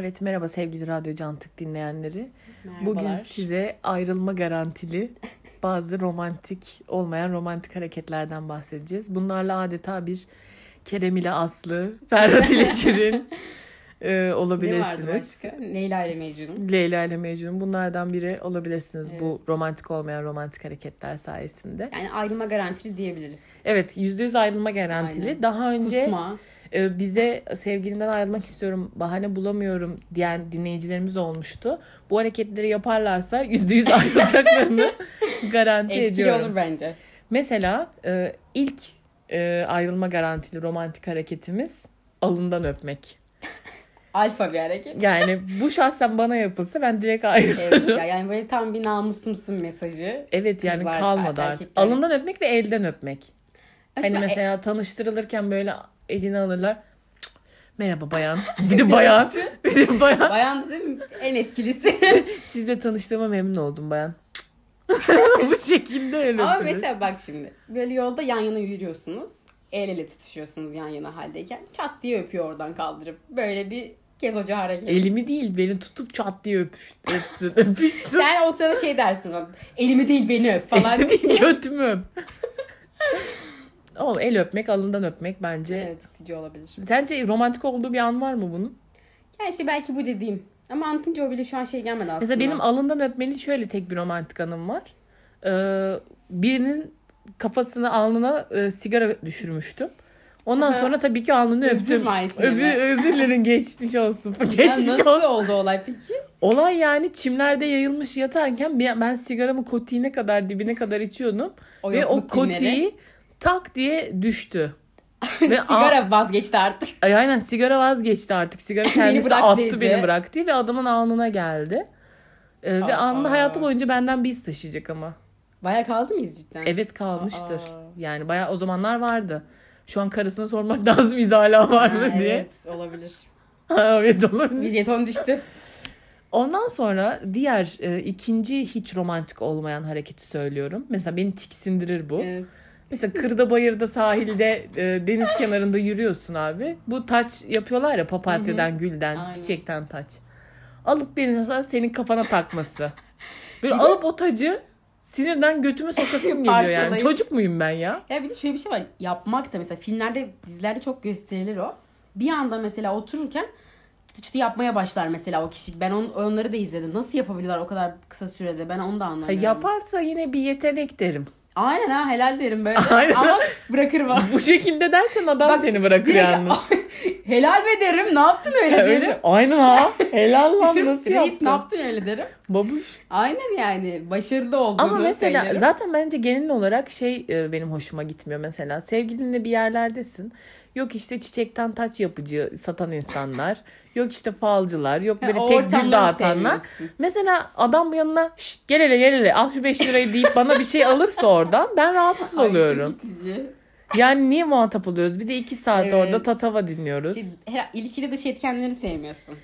Evet merhaba sevgili Radyo Cantık dinleyenleri. Merhabalar. Bugün size ayrılma garantili bazı romantik olmayan romantik hareketlerden bahsedeceğiz. Bunlarla adeta bir Kerem ile Aslı, Ferhat ile Şirin e, ne vardı olabilirsiniz. başka? Leyla ile Mecnun. Leyla ile Mecnun bunlardan biri olabilirsiniz bu Evet. romantik olmayan romantik hareketler sayesinde. Yani ayrılma garantili diyebiliriz. Evet %100 ayrılma garantili. Aynen. Daha önce Kusma. Ee, bize sevgilimden ayrılmak istiyorum bahane bulamıyorum diyen dinleyicilerimiz olmuştu. Bu hareketleri yaparlarsa %100 ayrılacaklarını garanti Etkili ediyorum. olur bence. Mesela e, ilk e, ayrılma garantili romantik hareketimiz alından öpmek. Alfa bir hareket. Yani bu şahsen bana yapılsa ben direkt evet ayrılırım. ya, yani böyle tam bir namusumsun mesajı. Evet yani Kızlar, kalmadı er- artık. erkekler. Alından öpmek ve elden öpmek. Aslında hani e- mesela tanıştırılırken böyle elini alırlar. Cık, Merhaba bayan. Bir de bayan. Bir de bayan. bayan değil mi? en etkilisi. Sizle tanıştığıma memnun oldum bayan. Bu şekilde öyle. Ama mesela bak şimdi böyle yolda yan yana yürüyorsunuz. El ele tutuşuyorsunuz yan yana haldeyken. Çat diye öpüyor oradan kaldırıp. Böyle bir kez hoca hareket. Elimi değil beni tutup çat diye öpüş, öpsün. Öpüşsün. Sen o sırada şey dersin. bak, Elimi değil beni öp falan. Götümü öp. Oğlum el öpmek alından öpmek bence. evet itici olabilir. Sence romantik olduğu bir an var mı bunun? Ya işte şey belki bu dediğim. Ama anlatınca o bile şu an şey gelmedi aslında. Mesela benim alından öpmeli şöyle tek bir romantik anım var. Ee, birinin kafasını alnına e, sigara düşürmüştüm. Ondan Aha. sonra tabii ki alnını Özür öptüm. mahiyetinde Öbür, mi? özür dilerim geçmiş olsun. Ya Geçmiş nasıl olsun. oldu olay peki? Olay yani çimlerde yayılmış yatarken bir- ben sigaramı kotiğine kadar dibine kadar içiyordum. O ve o yokluk günleri. kotiği tak diye düştü. ve a- Sigara vazgeçti artık. Ay, aynen sigara vazgeçti artık. Sigara kendisi bırak attı dedi. beni bıraktı ve adamın alnına geldi. Ee, ve Aa. alnı hayatı boyunca benden bir iz taşıyacak ama. Baya kaldı mıyız cidden? Evet kalmıştır. Aa. Yani bayağı o zamanlar vardı. Şu an karısına sormak lazım iz hala var Ha, mı diye. Evet olabilir. Ha, evet olabilir. Bir jeton düştü. Ondan sonra diğer e, ikinci hiç romantik olmayan hareketi söylüyorum. Mesela beni tiksindirir bu. Evet. Mesela kırda bayırda sahilde e, deniz kenarında yürüyorsun abi. Bu taç yapıyorlar ya papatyadan, gülden, Aynen. çiçekten taç. Alıp beni mesela senin kafana takması. Böyle Bir de- alıp o tacı sinirden götüme sokasım geliyor yani. Parçalayıp. Çocuk muyum ben ya? Ya bir de şöyle bir şey var. Yapmak da mesela filmlerde dizilerde çok gösterilir o. Bir anda mesela otururken çıtı yapmaya başlar mesela o kişi. Ben on, onları da izledim. Nasıl yapabiliyorlar o kadar kısa sürede? Ben onu da Ha, anlamıyorum. yaparsa yine bir yetenek derim. Aynen ha helal derim böyle. Aynen. Ama bırakırım ha. Bu şekilde dersen adam Bak, seni bırakır Direkt- yalnız. helal be derim. Ne yaptın öyle Ya derim. Öyle mi? Aynen ha. Helal lan nasıl Reis ne yaptın? yaptın öyle derim. Babuş. Aynen yani başarılı olduğunu Ama mesela söylerim. zaten bence genel olarak şey e, benim hoşuma gitmiyor mesela. Sevgilinle bir yerlerdesin. Yok işte çiçekten taç yapıcı satan insanlar. yok işte falcılar. Yok Ha, böyle o tek ortamları gül dağıtanlar. sevmiyorsun. Mesela adam yanına "Şş, gel hele gel hele al şu 5 lirayı deyip bana bir şey alırsa oradan ben rahatsız Ay, çok oluyorum. itici. Yani niye muhatap oluyoruz? Bir de 2 saat Evet. orada tatava dinliyoruz. Şey, her- İlişkide dış etkenleri sevmiyorsun.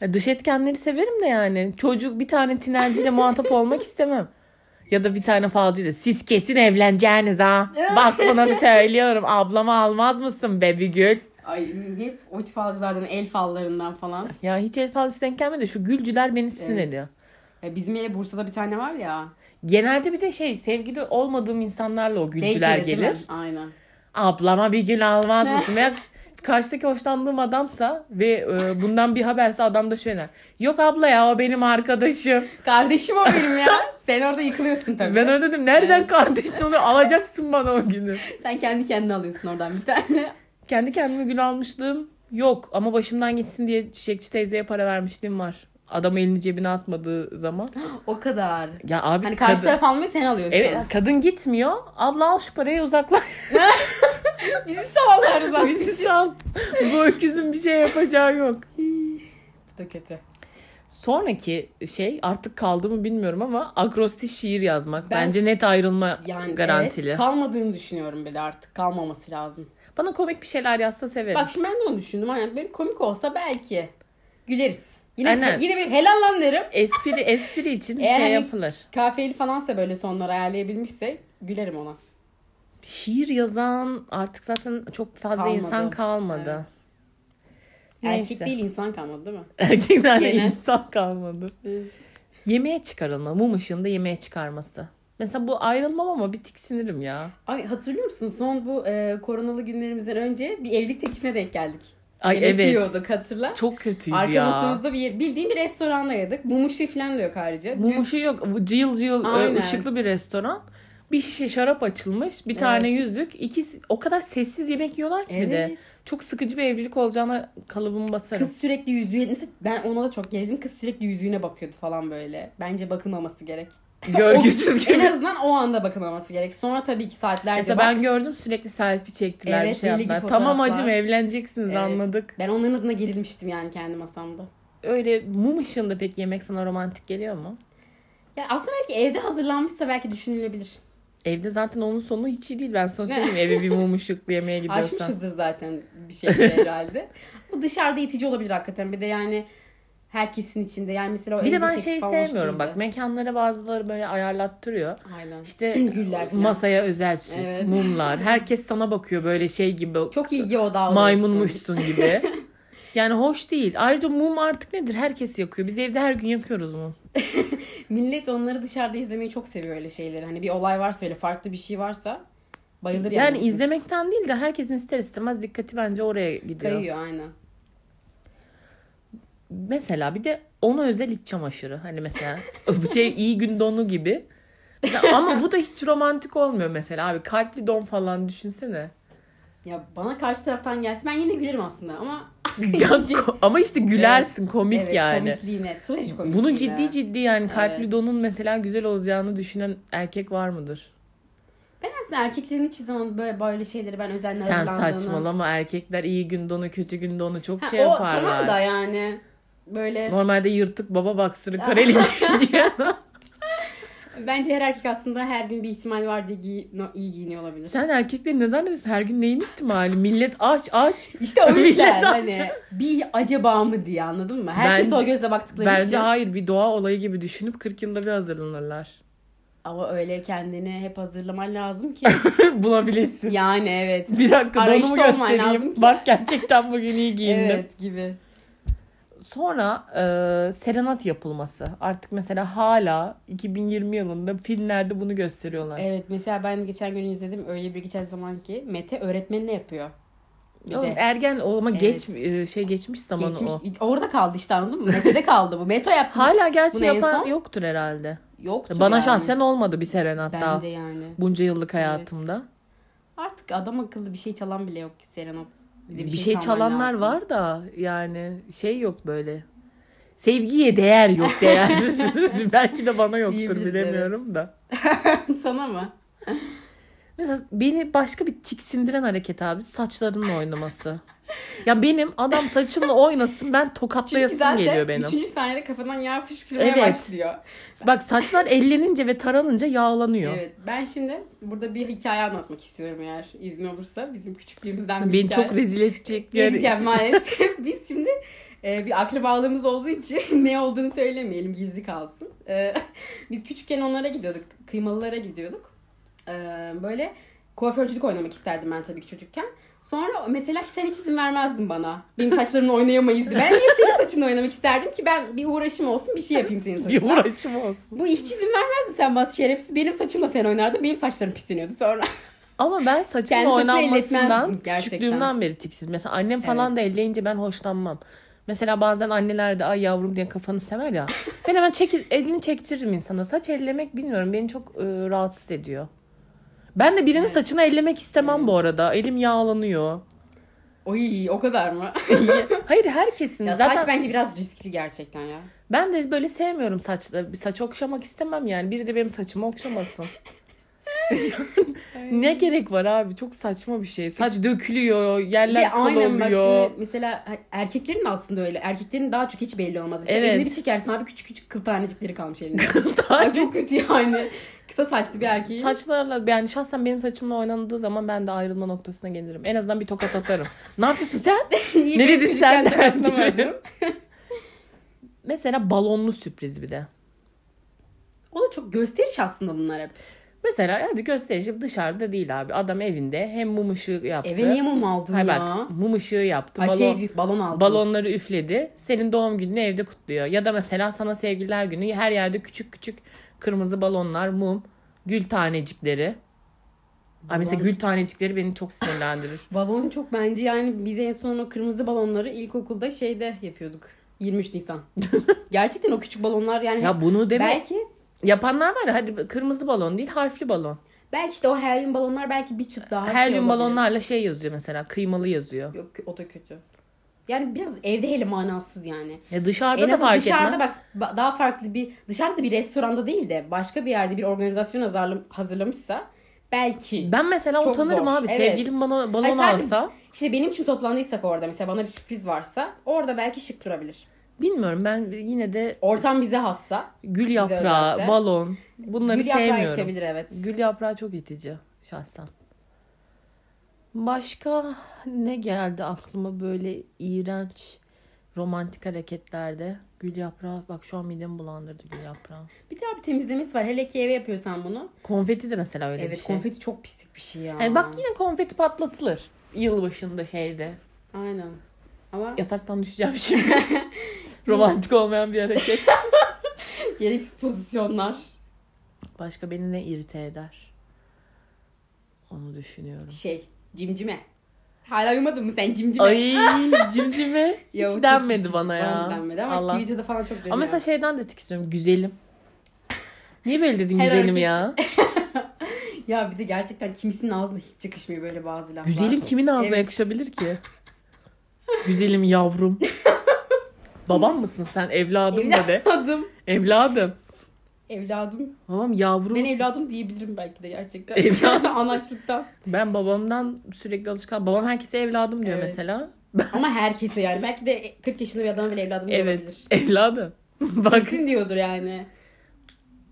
Ya Dış etkenleri severim de yani. Çocuk bir tane tinerciyle muhatap olmak istemem. Ya da bir tane falcıyla siz kesin evleneceğiniz ha. Bak sana bir söylüyorum ablamı almaz mısın be bir gül? Ay hep o falcılardan, el fallarından falan. Ya hiç el falcısı denk gelmedi. Şu gülcüler beni sinir Evet. ediyor. Ya Bizim yere Bursa'da bir tane var ya. Genelde bir de şey sevgili olmadığım insanlarla o gülcüler Beyko'da değil mi? gelir. Aynen. Ablama bir gül almaz mısın? Veya karşıdaki hoşlandığım adamsa ve e, bundan bir haberse adam da şöyle. der, Yok abla ya o benim arkadaşım. Kardeşim o benim ya. Sen orada yıkılıyorsun tabii. Ben öyle dedim. Nereden kardeşin oluyor? Alacaksın bana o günü. Sen kendi kendine alıyorsun oradan bir tane. Kendi kendime gül almışlığım yok. Ama başımdan gitsin diye çiçekçi teyzeye para vermişliğim var. Adam elini cebine atmadığı zaman. o kadar. Ya abi Hani karşı kadın, taraf almıyor sen alıyorsun. evet, kadın gitmiyor. Abla al şu parayı uzaklaş. Bizi savallarız aslında. Bizi sal. Bu öküzün bir şey yapacağı yok. Bu da kötü. Sonraki şey artık kaldı mı bilmiyorum ama akrostiş şiir yazmak. Ben- Bence net ayrılma Yani garantili. evet, kalmadığını düşünüyorum bile artık. Kalmaması lazım. Bana komik bir şeyler yazsa severim. Bak şimdi ben de onu düşündüm. Aynen böyle komik olsa belki güleriz. Yine, Aynen. yine bir helal lan derim. espri espri için bir Eğer şey hani- yapılır. Kafiyeli falansa böyle sonları ayarlayabilmişse gülerim ona. Şiir yazan artık zaten çok fazla Kalmadı. insan kalmadı. Evet. Erkek Neyse. değil insan kalmadı değil mi? Erkeklerle Gene. insan kalmadı. Yemeğe çıkarılma. Mum ışığında yemeğe çıkarması. Mesela bu ayrılmam ama bir tiksinirim ya. Ay hatırlıyor musun son bu e, koronalı günlerimizden önce bir evlilik teklifine denk geldik. Ay Yemek evet. yiyorduk hatırla. Çok kötüydü Arka ya. masamızda bir yer- bildiğin bir restoranda yedik. Mum ışığı falan da yok ayrıca. Düz- Mum ışığı yok. Bu Cıyıl cıyıl e, Aynen. ışıklı bir restoran. Bir şişe şarap açılmış. Bir tane yüzlük. İkisi o kadar sessiz yemek yiyorlar ki bir de. Evet. Çok sıkıcı bir evlilik olacağına kalıbımı basarım. Kız sürekli yüzüğe mesela ben ona da çok gerildim. Kız sürekli yüzüğüne bakıyordu falan böyle. Bence bakılmaması gerek. O- Gölgesiz En gibi. azından o anda bakılmaması gerek. Sonra tabii ki saatlerce Mesela bak. ben gördüm sürekli selfie çektiler Evet, bir şey deli gibi yaptılar. Tamam fotoğraflar. hacım evleneceksiniz Evet. anladık. Ben onların adına gerilmiştim yani kendi masamda. Öyle mum ışığında peki yemek sana romantik geliyor mu? Ya aslında belki evde hazırlanmışsa belki düşünülebilir. Evde zaten onun sonu hiç iyi değil. Ben sana söyleyeyim eve bir mum ışıklı yemeğe gidiyorsan. Açmışızdır zaten bir şekilde herhalde. Bu dışarıda itici olabilir hakikaten. Bir de yani herkesin içinde. Yani mesela o Bir de evde ben tek şey falan hoş sevmiyorum değildi. bak mekanlara bazıları böyle ayarlattırıyor. Aynen. İşte Güller falan. masaya özel süs, Evet. mumlar. Herkes sana bakıyor böyle şey gibi. Çok ilgi odağı oluyorsun. maymunmuşsun gibi. Yani hoş değil. Ayrıca mum artık nedir? Herkes yakıyor. Biz evde her gün yakıyoruz mum. Millet onları dışarıda izlemeyi çok seviyor öyle şeyleri. Hani bir olay varsa öyle farklı bir şey varsa bayılır yani. Yani izlemekten değil de herkesin ister istemez dikkati bence oraya gidiyor. Kayıyor aynen. Mesela bir de ona özel iç çamaşırı. Hani mesela bu şey iyi gün donu gibi. Mesela ama bu da hiç romantik olmuyor mesela abi. Kalpli don falan düşünsene. Ya bana karşı taraftan gelse ben yine gülerim aslında ama Ya ko- ama işte gülersin komik evet, yani. komikliğine, trajikomikliğine. Bunu ciddi ciddi yani kalpli Evet. donun mesela güzel olacağını düşünen erkek var mıdır? Ben aslında erkeklerin hiçbir zaman böyle böyle şeyleri ben özenle Sen hazırlandığını- saçmalama erkekler iyi gün donu kötü gün donu çok Ha, şey o yaparlar. tamam da yani böyle Normalde yırtık baba baksırı kareli giyiyor. bence her erkek aslında her gün bir ihtimal var diye giy- no- iyi giyiniyor olabilir. Sen erkekleri ne zannediyorsun? Her gün neyin ihtimali? Millet aç aç. İşte o yüzden Millet hani aç. bir acaba mı diye anladın mı? Herkes Bence- o gözle baktıkları için. Bence hayır bir doğa olayı gibi düşünüp 40 yılda bir hazırlanırlar. Ama öyle kendini hep hazırlaman lazım ki. Bulabilesin. yani evet. Bir dakika Arayışta donumu olman lazım göstereyim. ki. Bak gerçekten bugün iyi giyindim. Evet gibi. Sonra e, serenat yapılması. Artık mesela hala 2020 yılında filmlerde bunu gösteriyorlar. Evet mesela ben geçen gün izledim öyle bir geçen zaman ki Mete öğretmenine yapıyor. Bir Oğlum de- ergen o ama Evet. geç e, şey geçmiş zamanı Geçmiş o. orada kaldı işte anladın mı? Mete'de kaldı bu. Meto yaptı. Hala gerçi Bunu en yapan son- yoktur herhalde. Yoktu Bana yani. şahsen olmadı bir serenat Ben daha. de yani. Bunca yıllık hayatımda. Artık adam akıllı bir şey çalan bile yok ki Serenat. de Bir, şey, çalman çalanlar lazım. var da yani şey yok böyle. Sevgiye değer yok değer. Belki de bana yoktur Diyebiliriz, bilemiyorum da. Sana mı? Mesela beni başka bir tiksindiren hareket abi saçlarının oynaması. ya benim adam saçımla oynasın ben Çünkü tokatlayasım zaten geliyor benim. 3. saniyede kafadan yağ fışkırmaya Evet. başlıyor. Bak saçlar ellenince ve taranınca yağlanıyor. Evet. Ben şimdi burada bir hikaye anlatmak istiyorum eğer izin olursa. Bizim küçüklüğümüzden bir Beni hikaye. çok rezil edecek. bir- Geleceğim maalesef. Biz şimdi e, bir akrabalığımız olduğu için ne olduğunu söylemeyelim gizli kalsın. E, biz küçükken onlara gidiyorduk. Kıymalılara gidiyorduk. E, böyle kuaförcülük oynamak isterdim ben tabii ki çocukken. Sonra mesela sen hiç izin vermezdin bana. Benim saçlarımla oynayamayız diye. Ben hep senin saçınla oynamak isterdim ki ben bir uğraşım olsun bir şey yapayım senin bir saçına. uğraşım olsun. Bu hiç izin vermezdin sen bana şerefsiz. Benim saçımla sen oynardın. Benim saçlarım pisleniyordu sonra. Ama ben saçımın Kendi saçını oynanmasından elletmezdim gerçekten. küçüklüğümden beri tiksindim. Mesela annem falan Evet. da elleyince ben hoşlanmam. Mesela bazen anneler de ay yavrum diye kafanı sever ya. ben hemen çekil, elini çektiririm insana. Saç ellemek bilmiyorum beni çok e, rahatsız ediyor. Ben de birinin saçını ellemek istemem bu arada. Elim yağlanıyor. Oy o kadar mı? Hayır herkesin. ya Zaten saç bence biraz riskli gerçekten ya. ben de böyle sevmiyorum saçla. Bir saç okşamak istemem yani. Biri de benim saçımı okşamasın. ne gerek var abi? Çok saçma bir şey. Saç dökülüyor, yerler Bir kıl aynen bak oluyor. şimdi mesela erkeklerin de aslında öyle. Erkeklerin daha çok hiç belli olmaz. Mesela Evet. elini bir çekersin abi küçük küçük kıl tanecikleri kalmış elinde. Ay çok kötü yani. Kısa saçlı bir erkeğin. Saçlarla yani şahsen benim saçımla oynandığı zaman ben de ayrılma noktasına gelirim. En azından bir tokat atarım. ne yapıyorsun sen? İyi, Ne benim dedin sen çocukken de der gibi. katlanamazdım. Mesela balonlu sürpriz bir de. O da çok gösteriş aslında bunlar hep. Mesela hadi gösterişim dışarıda değil abi. Adam evinde hem mum ışığı yaptı. Eve niye mum aldın Hayır ya? bak mum ışığı yaptı. Ay balon, şey diyor, balon aldım. balonları üfledi. Senin doğum gününü evde kutluyor. Ya da mesela sana sevgililer günü her yerde küçük küçük kırmızı balonlar, mum, gül tanecikleri. Ay mesela Balon- gül tanecikleri beni çok sinirlendirir. Balon çok bence yani biz en son o kırmızı balonları ilkokulda şeyde yapıyorduk. 23 Nisan. Gerçekten o küçük balonlar yani ya bunu deme. belki Yapanlar var ya hadi kırmızı balon değil harfli balon. belki işte o helyum balonlar belki bir çıt daha her şey gün olabilir. balonlarla şey yazıyor mesela kıymalı yazıyor. Yok o da kötü. Yani biraz evde hele manasız yani. Ya dışarıda en da azından fark dışarıda etmez. bak ba- daha farklı bir dışarıda bir restoranda değil de başka bir yerde bir organizasyon hazırlam- hazırlamışsa belki. Ben mesela Çok utanırım zor. abi. Evet. Sevgilim bana balon Hayır, sadece- alsa İşte benim için toplandıysak orada mesela bana bir sürpriz varsa orada belki şık durabilir. bilmiyorum ben yine de Ortam bize hassa. gül özelse. yaprağı, balon bunları Gül yaprağı sevmiyorum. itebilir evet. Gül yaprağı çok itici şahsen. Başka ne geldi aklıma böyle iğrenç romantik hareketlerde? Gül yaprağı bak şu an midemi bulandırdı gül yaprağı. Bir daha bir temizlemesi var. Hele ki eve yapıyorsan bunu. Konfeti de mesela öyle Evet bir şey. konfeti çok pislik bir şey ya. Yani bak yine konfeti patlatılır yılbaşında şeyde. Aynen. Ama Yataktan düşeceğim şimdi. Romantik olmayan bir hareket. gereksiz pozisyonlar. Başka beni ne irite eder? Onu düşünüyorum. Şey cimcime. Hala uyumadın mı sen cimcime? Ay cimcime Ya o hiç çok denmedi itici. bana ya. da denmedi ama Allah. Twitter'da falan çok dönüyor. Ama mesela şeyden de tiksiniyorum. Güzelim. Niye böyle dedin Her güzelim erkek- ya? Ya bir de gerçekten kimisinin ağzına hiç yakışmıyor böyle bazı laflar. Güzelim kimin ağzına Evet. yakışabilir ki? Güzelim yavrum. Babam mısın sen? Evladım da de. Evladım. Evladım. Evladım. Babam yavrum. Ben evladım diyebilirim belki de gerçekten. Evladım. Anaçlıktan. Ben babamdan sürekli alışkan. Babam herkese evladım diyor Evet. mesela. Ama herkese yani. Belki de 40 yaşında bir adama bile evladım diyor olabilir. Evet. Evladım. Bak Kesin diyordur yani.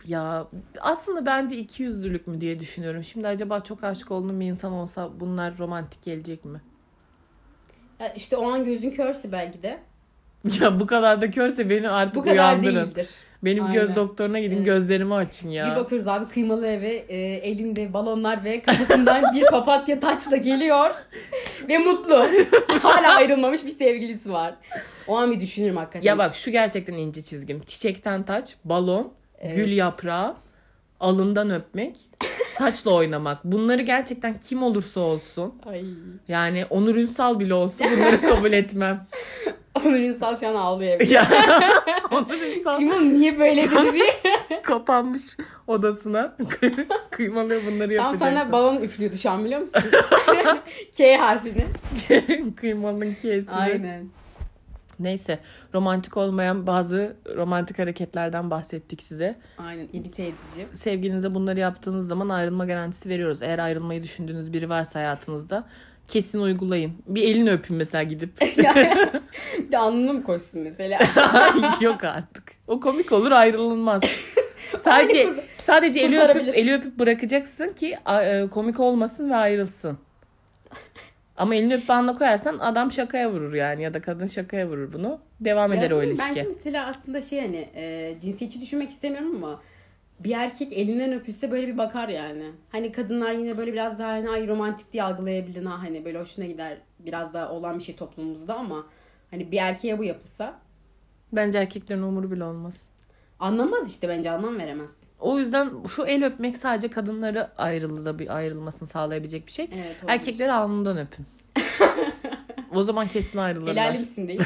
ya aslında bence iki yüzlülük mü diye düşünüyorum. Şimdi acaba çok aşık olduğum bir insan olsa bunlar romantik gelecek mi? Ya işte o an gözün körse belki de. Ya bu kadar da körse beni artık Bu kadar uyandırın. değildir. Benim göz Aynen. doktoruna gidin Evet. gözlerimi açın Bir ya. bakıyoruz abi kıymalı eve e, elinde balonlar ve kafasından bir papatya taçla geliyor ve mutlu. Hala ayrılmamış bir sevgilisi var. O an bir düşünürüm hakikaten. Ya bak şu gerçekten ince çizgim. Çiçekten taç, balon, Evet. gül yaprağı, alından öpmek, saçla oynamak. Bunları gerçekten kim olursa olsun. Ay. Yani Onur Ünsal bile olsa bunları kabul etmem. Onur Ünsal şu an ağlıyor evde. Ya Onur Ünsal Kimin niye böyle dedi diye. kapanmış odasına. Kıymalıyor bunları Tam yapacak. sana balon üflüyordu şu an biliyor musun? K harfini. Kıymalın kesini. Neyse romantik olmayan bazı romantik hareketlerden bahsettik size. Aynen irite edici. sevgilinize bunları yaptığınız zaman ayrılma garantisi veriyoruz. Eğer ayrılmayı düşündüğünüz biri varsa hayatınızda kesin uygulayın. Bir elini öpün mesela gidip. bir de alnına mı koşsun mesela? Yok artık. O komik olur ayrılınmaz. Sadece sadece eli Kurtarabilir. öpüp, eli öpüp bırakacaksın ki a- e, komik olmasın ve ayrılsın. Ama elini öpüp anla koyarsan adam şakaya vurur yani ya da kadın şakaya vurur bunu. Devam eder o Yasemin, ilişki. Bence mesela aslında şey hani e, cinsiyetçi düşünmek istemiyorum ama bir erkek elinden öpülse böyle bir bakar yani. Hani kadınlar yine böyle biraz daha hani ay romantik diye algılayabilir ha hani böyle hoşuna gider biraz daha olan bir şey toplumumuzda ama hani bir erkeğe bu yapılsa Bence erkeklerin umuru bile olmaz. anlamaz işte bence anlam veremez. O yüzden şu el öpmek sadece kadınları ayrılığı bir ayrılmasını sağlayabilecek bir şey. Evet. olabilir. Erkekleri alnından öpün. o zaman kesin ayrılırlar. Helal misin değil.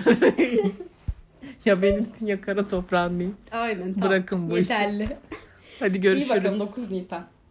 Ya benimsin ya kara toprağın değil. Aynen. Bırakın bu işi. Yeterli. Hadi İyi bakalım görüşürüz. 9 Nisan.